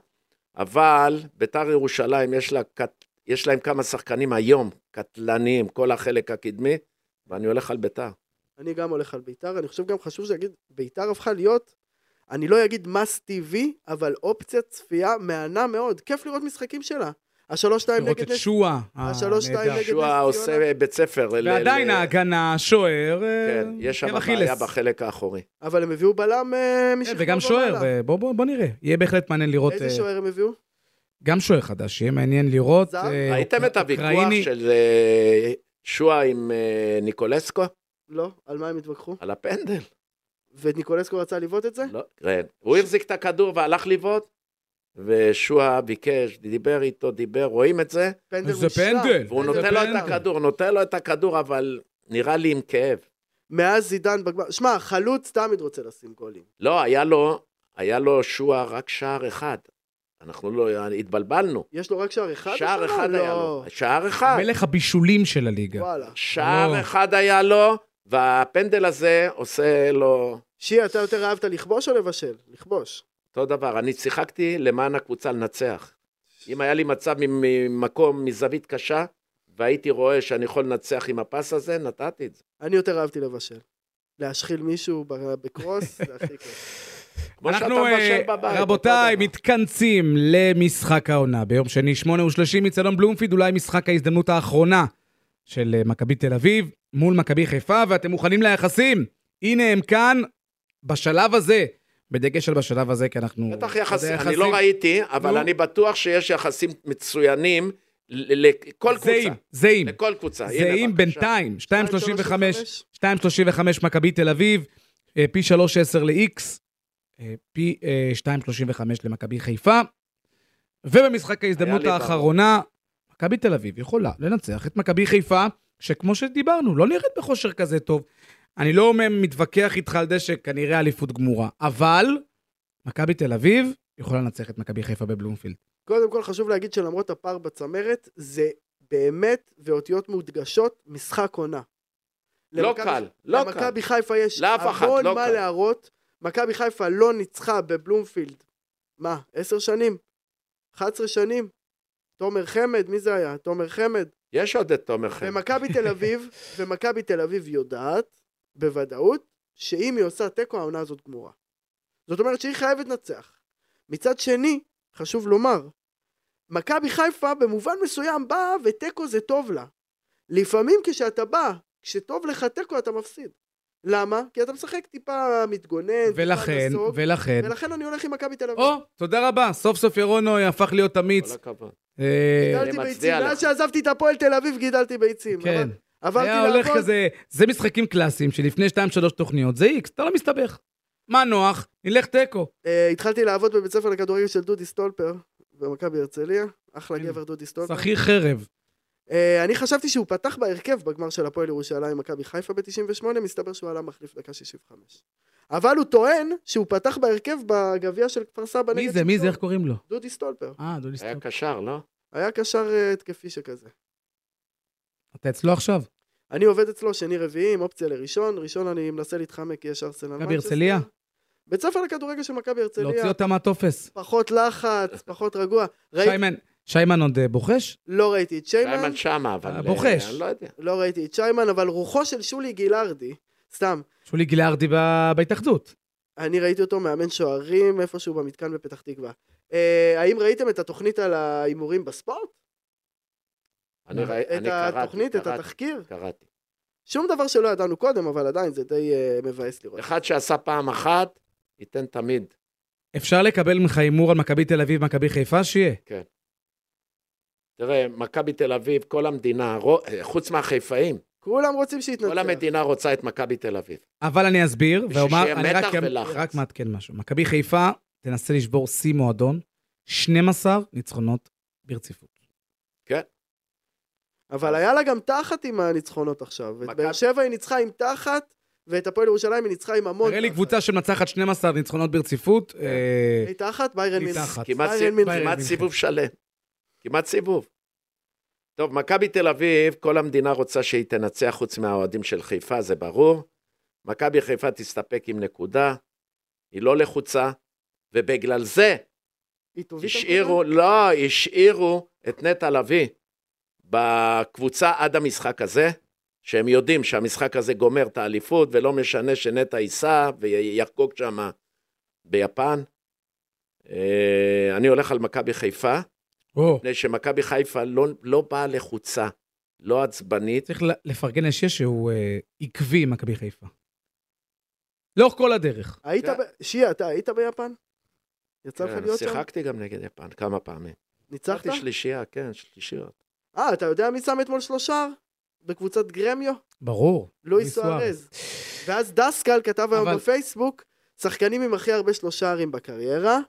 S4: אבל ביתר ירושלים, יש, לה, קט- יש להם כמה שחקנים היום, קטלניים, כל החלק הקדמי, ואני הולך על ביתר.
S3: אני גם הולך על ביתר, אני חושב גם חשוב להגיד, ביתר הפכה להיות, אני לא אגיד מס טבעי, אבל אופציית צפייה מהנה מאוד, כיף לראות משחקים שלה. השלוש שתיים
S2: לראות את
S3: נגד נס...
S2: שואה.
S3: השלוש,
S2: הנהדר.
S3: שתיים נגד-
S4: שועה
S3: נס ציונה.
S4: עושה אה, בית ספר. ל-
S2: ועדיין
S4: ל-
S2: ההגנה, השוער, אה,
S4: כן, יש שם
S2: עקב
S4: בעיה
S2: אכילס.
S4: בחלק האחורי.
S3: אבל הם הביאו בלם אה,
S2: כן,
S3: משכמו
S2: וגם שוער, אה, בוא, בוא, בוא נראה. יהיה בהחלט מעניין לראות.
S3: איזה
S2: אה,
S3: שוער הם הביאו?
S2: גם שוער חדש, יהיה מעניין לראות.
S3: זר?
S2: אה,
S4: ראיתם את הוויכוח
S2: אוקראיני.
S4: של אה, שועה עם אה, ניקולסקו?
S3: לא, על מה הם התווכחו?
S4: על הפנדל.
S3: וניקולסקו רצה לבעוט את זה?
S4: לא, כן. הוא החזיק את הכדור והלך לבעוט, ושועה ביקש, דיבר איתו, דיבר, רואים את זה,
S3: פנדל
S2: איזה
S3: מושלם.
S2: פנדל.
S4: והוא
S3: איזה
S4: נותן לו
S2: פנדל.
S4: את הכדור, נותן לו את הכדור, אבל נראה לי עם כאב.
S3: מאז זידן בגמר... שמע, חלוץ תמיד רוצה לשים גולים.
S4: לא, היה לו, היה לו שועה רק שער אחד. אנחנו לא, התבלבלנו.
S3: יש לו רק שער אחד?
S4: שער
S3: השנה?
S4: אחד
S3: לא.
S4: היה לו. שער אחד.
S2: מלך הבישולים של הליגה.
S3: וואלה.
S2: לא.
S4: שער אחד היה לו, והפנדל הזה עושה לו
S3: שיה, אתה יותר אהבת לכבוש או לבשל? לכבוש.
S4: אותו דבר. אני שיחקתי למען הקבוצה לנצח. אם היה לי מצב ממקום, מזווית קשה, והייתי רואה שאני יכול לנצח עם הפס הזה, נתתי את זה.
S3: אני יותר אהבתי לבשל. להשחיל מישהו ב- בקרוס, זה הכי כיף.
S4: כמו שאתה
S2: אנחנו, אה,
S4: מבשל בבית.
S2: רבותיי,
S4: אותו דבר.
S2: מתכנסים למשחק העונה. ביום שני, שמונה ושלושים, מצלון בלומפיד, אולי משחק ההזדמנות האחרונה של אה, מכבי תל אביב מול מכבי חיפה, ואתם מוכנים ליחסים. הנה הם כאן, בשלב הזה, בדגש על בשלב הזה, כי אנחנו...
S4: בטח יחסים,
S2: זה
S4: אני לא ראיתי, אבל
S2: נו.
S4: אני בטוח שיש יחסים מצוינים ל- לכל קבוצה.
S2: זהים, זהים.
S4: לכל קבוצה. הנה,
S2: זהים
S4: בבקשה.
S2: בינתיים, 2.35
S3: 2.35?
S2: 2.35 מכבי תל אביב, אה, פי 3.10 ל-X, אה, פי אה, 2.35 למכבי חיפה. ובמשחק ההזדמנות
S4: לי ברור.
S2: האחרונה, מכבי תל אביב יכולה לנצח את מכבי חיפה, שכמו שדיברנו, לא נראית בכושר כזה טוב. אני לא אומר- מתווכח איתך על זה שכנראה אליפות גמורה, אבל מכבי תל אביב יכולה לנצח את מכבי חיפה בבלומפילד.
S3: קודם כל חשוב להגיד שלמרות הפער בצמרת, זה באמת, ואותיות מודגשות, משחק עונה.
S4: לא
S3: למכבי-
S4: קל, לא קל.
S3: למכבי חיפה יש
S4: לאף אחת,
S3: המון
S4: לא
S3: מה
S4: קל.
S3: להראות. מכבי חיפה לא ניצחה בבלומפילד, מה, עשר שנים? 11 שנים? תומר חמד, מי זה היה? תומר חמד.
S4: יש עוד את תומר
S2: כן.
S4: חן.
S3: ומכבי תל
S2: <laughs>
S3: אביב, ומכבי תל אביב יודעת, בוודאות, שאם היא עושה תיקו, העונה הזאת גמורה. זאת אומרת שהיא חייבת לנצח. מצד שני, חשוב לומר, מכבי חיפה במובן מסוים באה ותיקו זה טוב לה. לפעמים כשאתה בא, כשטוב לך תיקו אתה מפסיד. למה? כי אתה משחק טיפה
S4: אה,
S3: מתגונן,
S2: ולכן,
S3: טיפה נסוג,
S2: ולכן,
S3: ולכן אני הולך עם מכבי תל אביב.
S2: או, אה, תודה רבה, סוף סוף ירונוי הפך להיות
S4: כל
S2: אמיץ.
S4: הכבוד.
S2: אה,
S3: גידלתי
S4: אני
S3: ביצים,
S4: מצדיע
S3: מאז
S4: לך.
S3: שעזבתי את הפועל תל אביב גידלתי ביצים.
S2: כן.
S3: אבל- כאילו, עברתי
S2: היה הולך
S3: לעבוד,
S2: כזה, זה משחקים קלאסיים שלפני 2-3 תוכניות, זה איקס, אתה לא מסתבך. מה נוח? נלך תיקו.
S3: אה, התחלתי לעבוד בבית ספר לכדורגל של דודי סטולפר, במכבי הרצליה, אחלה
S2: הנה.
S3: גבר דודי סטולפר.
S2: כן. שכיר חרב.
S3: אה, אני חשבתי שהוא פתח בהרכב בגמר של הפועל ירושלים, מכבי חיפה ב-98, מסתבר שהוא עלה מחליף דקה 65. אבל הוא טוען שהוא פתח בהרכב בגביע של כפר סבא נגד...
S2: מי זה? מי זה?
S3: שכתוב.
S2: איך קוראים לו?
S3: דודי סטולפר.
S2: אה, דודי
S4: היה
S2: סטוק.
S4: קשר, לא?
S3: היה קשר אה, התקפי שכזה.
S2: אתה אצלו עכשיו?
S3: אני עובד אצלו שני רביעי עם אופציה לראשון, ראשון אני מנסה להתחמק כי יש ארסנל
S2: מכבי הרצליה?
S3: בית ספר לכדורגל של מכבי
S2: להוציא
S3: הרצליה,
S2: אותה מהטופס.
S3: פחות לחץ, פחות רגוע. ראיתי,
S2: שיימן, שיימן עוד אה, בוחש?
S3: לא ראיתי את שיימן,
S4: איימן שמה, אבל...
S2: אה,
S4: אה,
S2: בוחש.
S4: אני לא יודע.
S3: לא ראיתי את שיימן, אבל רוחו של שולי גילארדי, סתם,
S2: שולי גילארדי ב- בהתאחדות.
S3: אני ראיתי אותו מאמן שוערים איפשהו במתקן בפתח תקווה. אה, האם ראיתם את התוכנית על ההימורים בספורט?
S4: אני ראי-
S3: את
S4: אה, אני קראתי,
S3: התוכנית, את
S4: קראתי,
S3: התחקיר?
S4: קראתי.
S3: שום דבר שלא ידענו קודם, אבל עדיין זה די אה, מבאס לראות.
S4: אחד שעשה פעם אחת, ייתן תמיד.
S2: אפשר לקבל ממך הימור על מכבי תל אביב, מכבי חיפה? שיהיה.
S4: תראה, מכבי תל אביב, כל המדינה, רו- אה, חוץ מהחיפאים,
S3: כולם רוצים שיתנצח.
S4: כל המדינה רוצה את מכבי תל אביב.
S2: אבל אני אסביר,
S4: בשביל
S2: ואומר,
S4: שיהיה
S2: אני רק, אמ-
S4: מתח ולחץ.
S2: רק מעדכן משהו. מכבי חיפה תנסה לשבור שיא מועדון, 12 ניצחונות ברציפות.
S3: אבל היה לה גם תחת עם הניצחונות עכשיו. את
S4: מכבי-
S3: באר שבע היא ניצחה עם תחת, ואת הפועל ירושלים היא ניצחה עם המון
S2: תראה לי
S3: תחת.
S2: קבוצה שמנצחת 12 ניצחונות ברציפות. אה,
S3: היא תחת, ביירן
S2: היא
S3: מינכן.
S2: תחת.
S4: כמעט
S3: ביירן
S4: סי-
S3: מינכן.
S2: ביירן
S4: כמעט
S2: מינכן.
S4: סיבוב שלם. כמעט סיבוב. טוב, מכבי תל אביב, כל המדינה רוצה שהיא תנצח חוץ מהאוהדים של חיפה, זה ברור. מכבי חיפה תסתפק עם נקודה, היא לא לחוצה, ובגלל זה
S3: היא תוביל את
S4: השאירו, לא, השאירו את נטע לביא בקבוצה עד המשחק הזה, שהם יודעים שהמשחק הזה גומר את האליפות, ולא משנה שנטע ייסע ויחגוג שם ביפן. אה, אני הולך על מכבי חיפה,
S2: או,
S4: מפני שמכבי חיפה לא, לא באה לחוצה, לא עצבנית.
S2: צריך ל- לפרגן לשש שהוא אה, עקבי עם מכבי חיפה. לאורך כל הדרך.
S3: היית
S4: כן.
S3: ב... שיה, אתה היית ביפן? יצא לך
S4: כן,
S3: להיות שם?
S4: שיחקתי גם נגד יפן כמה פעמים.
S3: ניצחת?
S4: שיחקתי שלישייה, כן, שלישיות.
S3: אה, אתה יודע מי שם אתמול שלושה? בקבוצת גרמיו?
S2: ברור.
S3: לואיס סוארז. ואז דסקל כתב היום
S2: אבל-
S3: בפייסבוק, שחקנים עם הכי הרבה שלושה ערים בקריירה,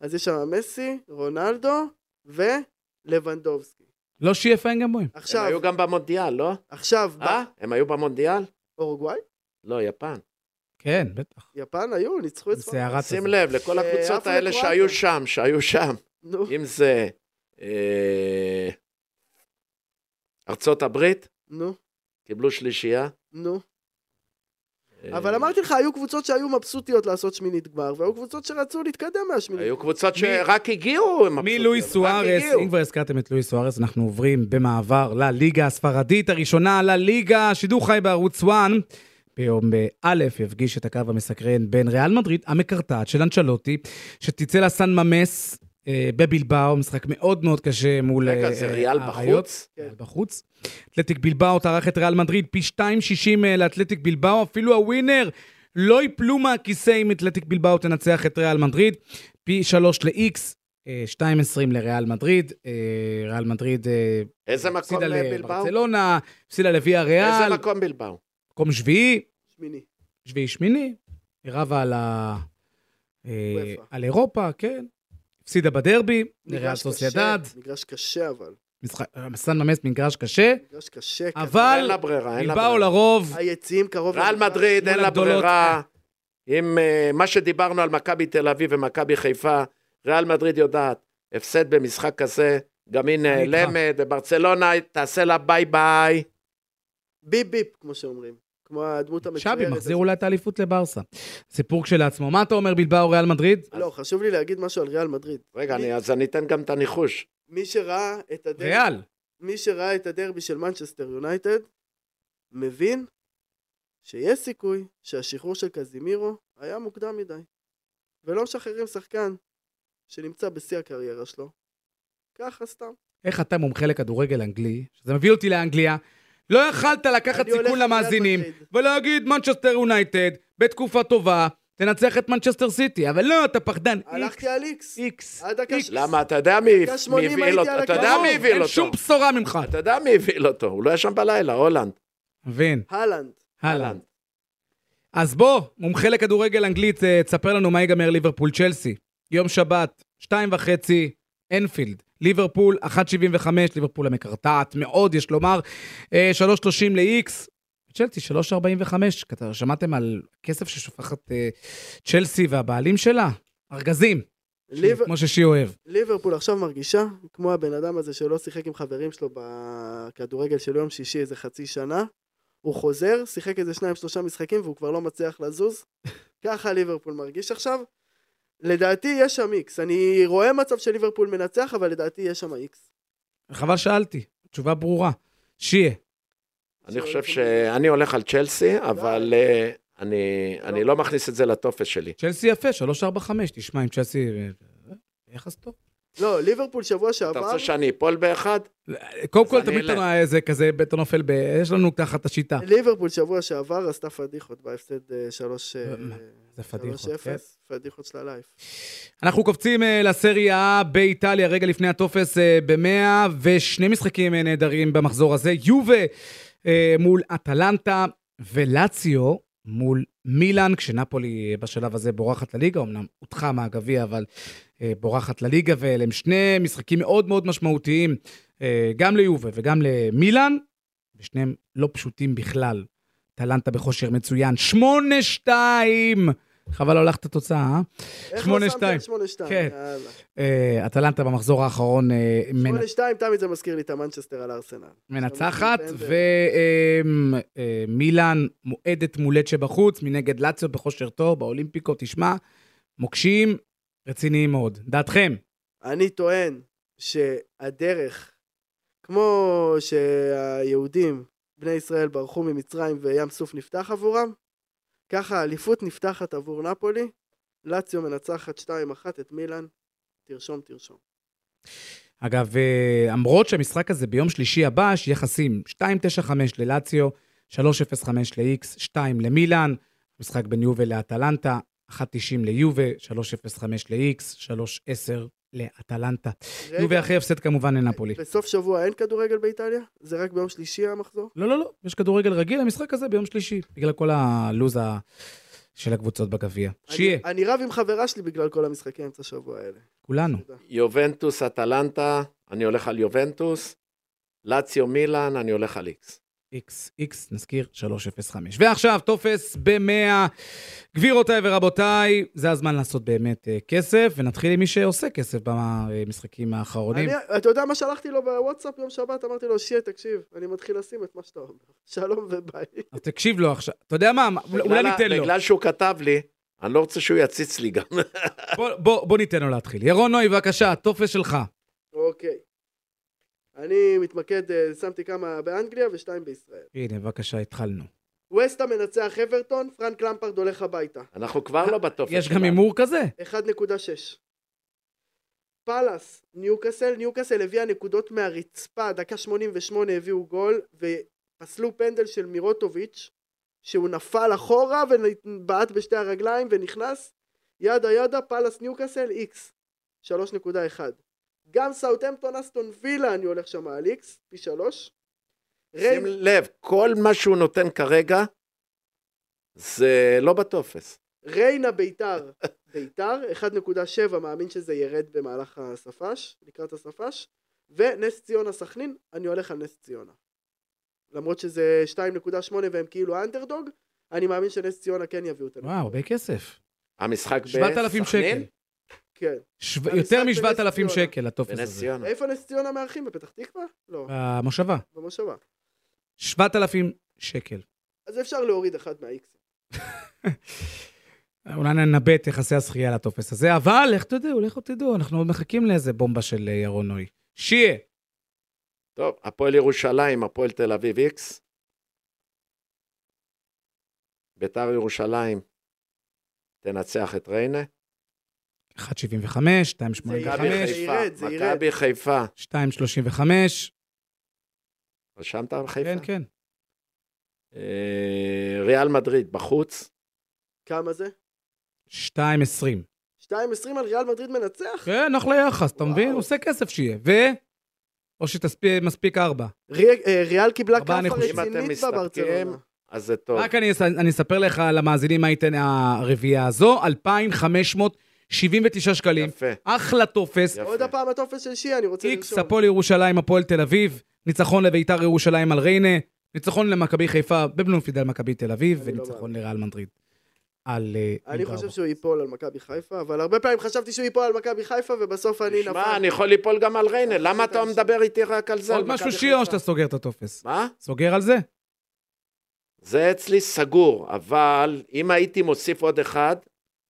S3: אז יש שם מסי, רונלדו ולבנדובסקי.
S2: לא שיהיה פיין גם בוים.
S4: הם
S3: עכשיו,
S4: היו גם במונדיאל, לא?
S3: עכשיו,
S4: אה? הם היו במונדיאל?
S3: אורוגוואי?
S4: לא, יפן.
S2: כן, בטח.
S3: יפן היו, ניצחו את ספרד.
S2: בסערת
S4: שים
S2: הזאת.
S4: לב לכל
S3: אה,
S4: הקבוצות
S3: עפו
S4: האלה
S3: לקרואטיה.
S4: שהיו שם, שהיו שם,
S3: נו,
S4: אם זה אה, ארצות הברית,
S3: נו,
S4: קיבלו שלישייה,
S3: נו.
S4: אה,
S3: אבל אמרתי לך, היו קבוצות שהיו מבסוטיות לעשות שמינית גמר, והיו קבוצות שרצו להתקדם מהשמינית.
S4: היו קבוצות שרק הגיעו, הם מבסוטים,
S2: מלואי
S4: רק
S2: סוארס,
S4: הגיעו.
S2: אם כבר הזכרתם את לואי סוארס, אנחנו עוברים במעבר לליגה הספרדית הראשונה, לליגה, שידור חי בערוץ 1. ביום אה, א' יפגיש את הקו המסקרן בין ריאל מדריד המקרטעת של אנצ'לוטי, שתצא לסן ממס אה, בבלבאו, משחק מאוד מאוד קשה מול...
S4: רגע,
S2: אה,
S4: זה
S2: אה,
S4: ריאל
S2: האריות.
S4: בחוץ?
S2: ריאל בחוץ. אתלטיק בלבאו טרח את ריאל מדריד, פי 2.60 אה, לאתלטיק בלבאו, אפילו הווינר לא ייפלו מהכיסא אם אתלטיק בלבאו תנצח את ריאל מדריד, פי 3 ל-X, 2.20 לריאל מדריד, אה, ריאל מדריד אה,
S4: איזה מקום
S2: הפסידה
S4: אה, בלבאו?
S2: לברצלונה, הפסידה לוויה ריאל,
S4: איזה מקום בלבאו?
S2: מקום שביעי,
S3: שמיני.
S2: שביעי שמיני, היא רבה על, ה... אה,
S3: וופא.
S2: על אירופה, כן, הפסידה בדרבי, לריאל
S3: מגרש קשה,
S2: סוסיידד,
S3: מגרש קשה אבל.
S2: משחק- אה, סן ממס מגרש קשה,
S3: מגרש קשה. כזה.
S2: אבל-
S4: אין לה ברירה, אין לה
S2: בלבאו לא
S4: ברירה.
S2: לרוב,
S3: היציעים קרוב...
S4: ריאל
S3: למגרש.
S4: מדריד,
S2: מול
S4: אין לה
S2: הגדולות.
S4: ברירה. עם אה, מה שדיברנו על מכבי תל אביב ומכבי חיפה, ריאל מדריד יודעת, הפסד במשחק כזה, גם היא
S2: אני איתך.
S4: נעלמת, וברצלונה תעשה לה ביי ביי.
S3: ביפ ביפ, כמו שאומרים. כמו הדמות המצוירת.
S2: שבי מחזיר
S3: הזאת.
S2: אולי את האליפות לברסה. סיפור כשלעצמו. מה אתה אומר, בלבאו ריאל מדריד?
S3: לא, חשוב לי להגיד משהו על ריאל מדריד.
S4: רגע,
S3: מי-
S4: אני- אז אני אתן גם את הניחוש.
S3: מי שראה את הדרבי...
S2: ריאל.
S3: מי שראה את הדרבי של מנצ'סטר יונייטד, מבין שיש סיכוי שהשחרור של קזימירו היה מוקדם מדי. ולא משחררים שחקן שנמצא בשיא הקריירה שלו. ככה סתם.
S2: איך אתה מומחה לכדורגל אנגלי, שזה מביא אותי לאנגליה, לא יכלת לקחת
S3: אני הולך
S2: סיכון
S3: לריאל
S2: למאזינים,
S3: מדריד.
S2: ולהגיד מנצ'סטר יונייטד, בתקופה טובה, תנצח את מנצ'סטר סיטי, אבל לא, אתה פחדן. איקס,
S3: הלכתי על איקס.
S2: איקס.
S3: עד דקה
S2: איקס.
S3: ש-
S4: למה? אתה יודע מי
S3: דקה
S4: מי
S3: 80
S4: הבהיל
S3: הייתי
S4: אותו?
S3: על
S4: אתה יודע
S3: הקרוב,
S4: מי הבהיל
S2: לא, אין
S4: אותו?
S2: שום בשורה ממך.
S4: אתה יודע מי הבהיל אותו? הוא לא ישן בלילה, הולנד.
S2: אה, מבין,
S3: הלנד.
S2: הלאה. אז בוא, מומחה לכדורגל אנגלית, אה, תספר לנו מה ייגמר ליברפול צ'לסי. יום שבת, שתיים וחצי, אנפילד. ליברפול, 1.75, ליברפול המקרטעת מאוד, יש לומר. אה, 3.30 ל-X. צ'לסי, 3.45. כת- שמעתם על כסף ששופכת אה, צ'לסי והבעלים שלה? ארגזים,
S3: ליב-
S2: כמו ששי אוהב.
S3: ליברפול עכשיו מרגישה כמו הבן אדם הזה שלא שיחק עם חברים שלו בכדורגל של יום שישי איזה חצי שנה. הוא חוזר, שיחק איזה שניים שלושה משחקים והוא כבר לא מצליח לזוז. <laughs> ככה ליברפול מרגיש עכשיו. לדעתי יש שם איקס. אני רואה מצב של ליברפול מנצח, אבל לדעתי יש שם איקס.
S2: חבל שאלתי, תשובה ברורה. שיה,
S4: אני חושב שאני הולך על צ'לסי,
S2: לא,
S4: אבל אה, אני- אני לא מכניס את זה לטופס שלי.
S2: צ'לסי יפה, 3.45. תשמע, עם צ'לסי... אה, אה, יחס טוב.
S3: לא, ליברפול שבוע
S4: אתה
S3: שעבר,
S4: רוצה שאני אפול באחד?
S2: קודם
S4: אז
S2: כל,
S4: אני
S2: תמיד
S4: אלך.
S2: אתה איזה כזה, אתה נופל ב... יש לנו תחת השיטה.
S3: ליברפול שבוע שעבר עשתה פדיחות בהפסד אה, שלוש... אה,
S2: זה
S3: שלוש
S2: פדיחות, כן.
S3: אפס, פדיחות של הלייף.
S2: אנחנו קופצים אה, לסריה A באיטליה, רגע לפני הטופס אה, ב-100, ושני משחקים אה, נהדרים במחזור הזה. יובה אה, מול אטלנטה ולציו מול מילאן, כשנפולי אה, בשלב הזה בורחת לליגה, אמנם הודחה מהגביע, אבל אה, בורחת לליגה, ואלה הם שני משחקים מאוד מאוד משמעותיים, אה, גם ליובה וגם למילאן, ושניהם לא פשוטים בכלל. טלנטה בכושר מצוין, 8-2! חבל לא הלכת התוצאה, אה?
S3: איך לא
S2: שמונה
S3: שמתי
S2: שתיים.
S3: על שמונה שתיים?
S2: כן.
S3: יאללה.
S2: אה, אטלנטה במחזור האחרון אה, מנ-
S3: 8-2 תמיד זה מזכיר לי את המנצ'סטר על ארסנל.
S2: מנצחת,
S3: פנדל.
S2: ומילאן מועדת מולט שבחוץ, מנגד לאציו בכושר טוב, באולימפיקו, תשמע, מוקשים רציניים מאוד. דעתכם,
S3: אני טוען שהדרך, כמו שהיהודים, בני ישראל ברחו ממצרים וים סוף נפתח עבורם, ככה האליפות נפתחת עבור נפולי, לאציו מנצחת 2-1 את מילאן, תרשום תרשום.
S2: אגב, אה, למרות שהמשחק הזה ביום שלישי הבא, יש יחסים 2.95 ללאציו, 3.05 ל-X, 2 למילאן, משחק בין יובה לאטלנטה, 1.90 ליובה, 3.05 ל-X, 3.10 לאטלנטה.
S3: רגע,
S2: יובה אחרי הפסד כמובן לנפולי.
S3: בסוף שבוע אין כדורגל באיטליה? זה רק ביום שלישי המחזור?
S2: לא, לא, לא, יש כדורגל רגיל, המשחק הזה ביום שלישי, בגלל כל הלוז ה- של הקבוצות בגביע. שיהיה,
S3: אני, אני רב עם חברה שלי בגלל כל המשחקי אמצע שבוע האלה.
S2: כולנו.
S3: תודה.
S4: יובנטוס, אטלנטה, אני הולך על יובנטוס, לאציו מילאן, אני הולך על איקס.
S2: איקס, איקס, נזכיר, 3.05. ועכשיו, טופס ב-100, גבירותיי ורבותיי, זה הזמן לעשות באמת אה, כסף, ונתחיל עם מי שעושה כסף במשחקים האחרונים.
S3: אני- אתה יודע מה שלחתי לו בוואטסאפ יום שבת? אמרתי לו, שיהיה, תקשיב, אני מתחיל לשים את מה שאתה אומר. <laughs> שלום וביי.
S2: אז תקשיב לו עכשיו. אתה יודע מה, אולי
S4: בגלל ה-
S2: ניתן לו.
S4: בגלל שהוא כתב לי, אני לא רוצה שהוא יציץ לי גם. <laughs>
S2: בוא- בוא בוא ניתן לו להתחיל. ירון נוי, בבקשה, הטופס שלך.
S3: אוקיי. אני מתמקד, אה, שמתי כמה באנגליה ושתיים בישראל.
S2: הנה, בבקשה, התחלנו.
S3: ווסטה מנצח אברטון, פרנק למפרד הולך הביתה.
S4: אנחנו כבר לא בטופס
S2: יש גם
S4: שלנו.
S2: הימור כזה?
S3: 1.6. פאלאס, ניוקאסל, ניוקאסל הביאה נקודות מהרצפה, דקה 88 הביאו גול, ופסלו פנדל של מירוטוביץ', שהוא נפל אחורה ובעט בשתי הרגליים ונכנס, ידה ידה, פאלאס ניוקאסל, איקס, 3.1. גם סאוטהמפטון אסטון וילה, אני הולך שם על איקס, פי שלוש.
S4: שים
S3: ריי-
S4: לב, כל מה שהוא נותן כרגע, זה לא בטופס.
S3: ריינה ביתר, ביתר, 1.7, מאמין שזה ירד במהלך הספ"ש, לקראת הספ"ש, ונס ציונה סכנין, אני הולך על נס ציונה. למרות שזה 2.8 והם כאילו אנדרדוג, אני מאמין שנס ציונה כן יביאו אותנו.
S2: וואו, הרבה כסף.
S4: המשחק בסכנין?
S2: 7,000 שקל.
S3: כן.
S2: שו-
S3: המשחק
S2: יותר
S3: בנס
S2: מ-7,000
S3: ציונה.
S2: שקל, הטופס
S4: בנס
S2: הזה.
S4: ציונה.
S3: איפה נס ציונה מארחים? בפתח תקווה? לא,
S2: במושבה.
S3: במושבה.
S2: 7,000 שקל.
S3: אז אפשר להוריד אחד מהאיקסים.
S2: אולי ננבא את יחסי הזכייה לטופס הזה, אבל איך תדעו, לכו תדעו, אנחנו עוד מחכים לאיזה בומבה של אה, ירון נוי. שיה,
S4: טוב, הפועל ירושלים, הפועל תל אביב איקס. ביתר ירושלים תנצח את ריינה.
S2: 1.75, 2.85,
S3: זה
S4: מכבי
S3: ירד,
S4: חיפה,
S3: ירד, זה ירד.
S4: מכבי חיפה.
S2: 2.35,
S4: רשמת על חיפה?
S2: כן, כן.
S4: אה, ריאל מדריד בחוץ.
S3: כמה זה?
S2: 2.20.
S3: 2.20 על ריאל מדריד מנצח?
S2: כן, אחלה יחס, אתה
S3: וואו.
S2: מבין? עושה כסף שיהיה. ו... או שמספיק ארבע.
S3: רי- אה, ריאל קיבלה
S2: ארבעה
S3: כאפה
S2: ניחושים.
S4: אם אתם
S3: רצינית
S4: מסתפקים,
S3: בברצלונה.
S4: אז זה טוב.
S2: רק אני אס- אני אספר לך למאזינים מה ייתן הרביעייה הזו, 2,579 שקלים.
S4: יפה.
S2: אחלה טופס.
S4: יפה.
S3: עוד הפעם הטופס של שיעה, אני רוצה
S2: איקס,
S3: לרשום.
S2: הפועל ירושלים, הפועל תל אביב, ניצחון לביתר ירושלים על ריינה, ניצחון למכבי חיפה בבלומפיד על מכבי תל אביב,
S3: אני לא
S2: וניצחון לריאל מדריד על... אה,
S3: אני
S2: בית"ר.
S3: חושב שהוא ייפול על מכבי חיפה, אבל הרבה פעמים חשבתי שהוא ייפול על מכבי חיפה, ובסוף אני נפל.
S4: שמע, אני יכול ליפול גם על ריינה,
S3: אני
S4: למה
S3: חושב
S4: אתה
S3: שאני-
S4: מדבר איתי רק על זה?
S2: עוד
S4: על
S2: משהו
S4: מכבי
S2: שיר או
S4: חיפה?
S2: שאתה סוגר את הטופס?
S4: מה?
S2: סוגר על זה?
S4: זה אצלי סגור, אבל אם הייתי מוסיף עוד אחד,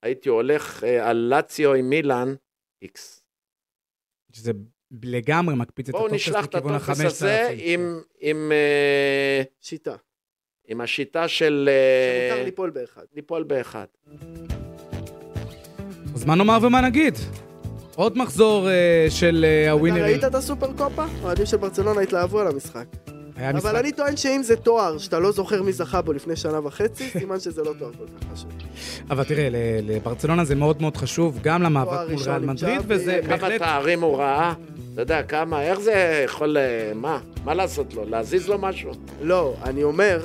S4: הייתי הולך אה, על לאציו עם מילאן, איקס.
S2: שזה לגמרי מקפיץ את
S4: בואו
S2: הטופס
S4: נשלח את
S2: לכיוון
S4: הטופס
S2: ה-5,000.
S4: הזה עם, עם, אה,
S3: שיטה.
S4: עם השיטה של אה,
S3: שמותר ליפול באחד.
S4: ליפול באחד.
S2: אז מה נאמר ומה נגיד? עוד מחזור אה, של אה,
S3: אתה
S2: הווינרים.
S3: ראית את הסופר קופה? האוהדים של ברצלונה התלהבו על המשחק.
S2: היה משחק.
S3: אבל אני טוען שאם זה תואר שאתה לא זוכר מי זכה בו לפני שנה וחצי, סימן שזה לא תואר כל כך חשוב.
S2: אבל תראה, ל- לברצלונה זה מאוד מאוד חשוב, גם
S3: תואר
S2: למאבק מול
S3: ראשון
S2: ריאל
S3: עם
S2: מדריד,
S3: צ'אבי,
S2: וזה
S3: כמה
S4: כמה
S2: בהחלט...
S4: תארים הוא ראה, אתה יודע, כמה, איך זה יכול, אה, מה? מה לעשות לו? להזיז לו משהו?
S3: לא, אני אומר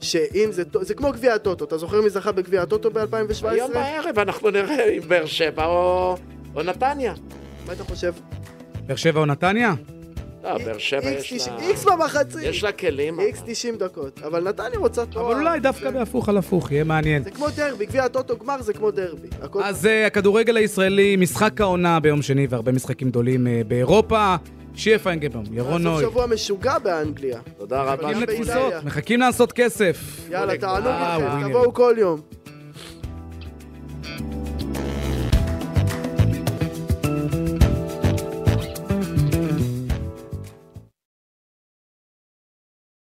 S3: שאם זה תואר... זה כמו גביע הטוטו, אתה זוכר מי זכה בגביע הטוטו ב-2017?
S4: היום בערב אנחנו נראה עם באר שבע או, או נתניה.
S3: מה אתה חושב?
S2: באר שבע או נתניה?
S4: לא, באר שבע
S3: איקס
S4: יש לה...
S3: תשעים- איקס במחצי!
S4: יש לה כלים.
S3: איקס 90 דקות. אבל נתניה רוצה תואר.
S2: אבל אולי דווקא בהפוך על הפוך, יהיה מעניין.
S3: זה כמו דרבי, גביע הטוטו גמר זה כמו דרבי. הכל
S2: אז אה, הכדורגל הישראלי, משחק העונה ביום שני והרבה משחקים גדולים אה, באירופה. שיהיה פיינגבום, ירון
S3: נוי.
S2: נוי.
S3: סוף שבוע משוגע באנגליה.
S4: תודה רבה.
S3: גם
S2: מחכים
S3: באיטליה.
S2: לתפוסות, מחכים לעשות כסף.
S3: יאללה, תעלו
S2: אה,
S3: לכם,
S2: ווינר.
S3: תבואו כל יום.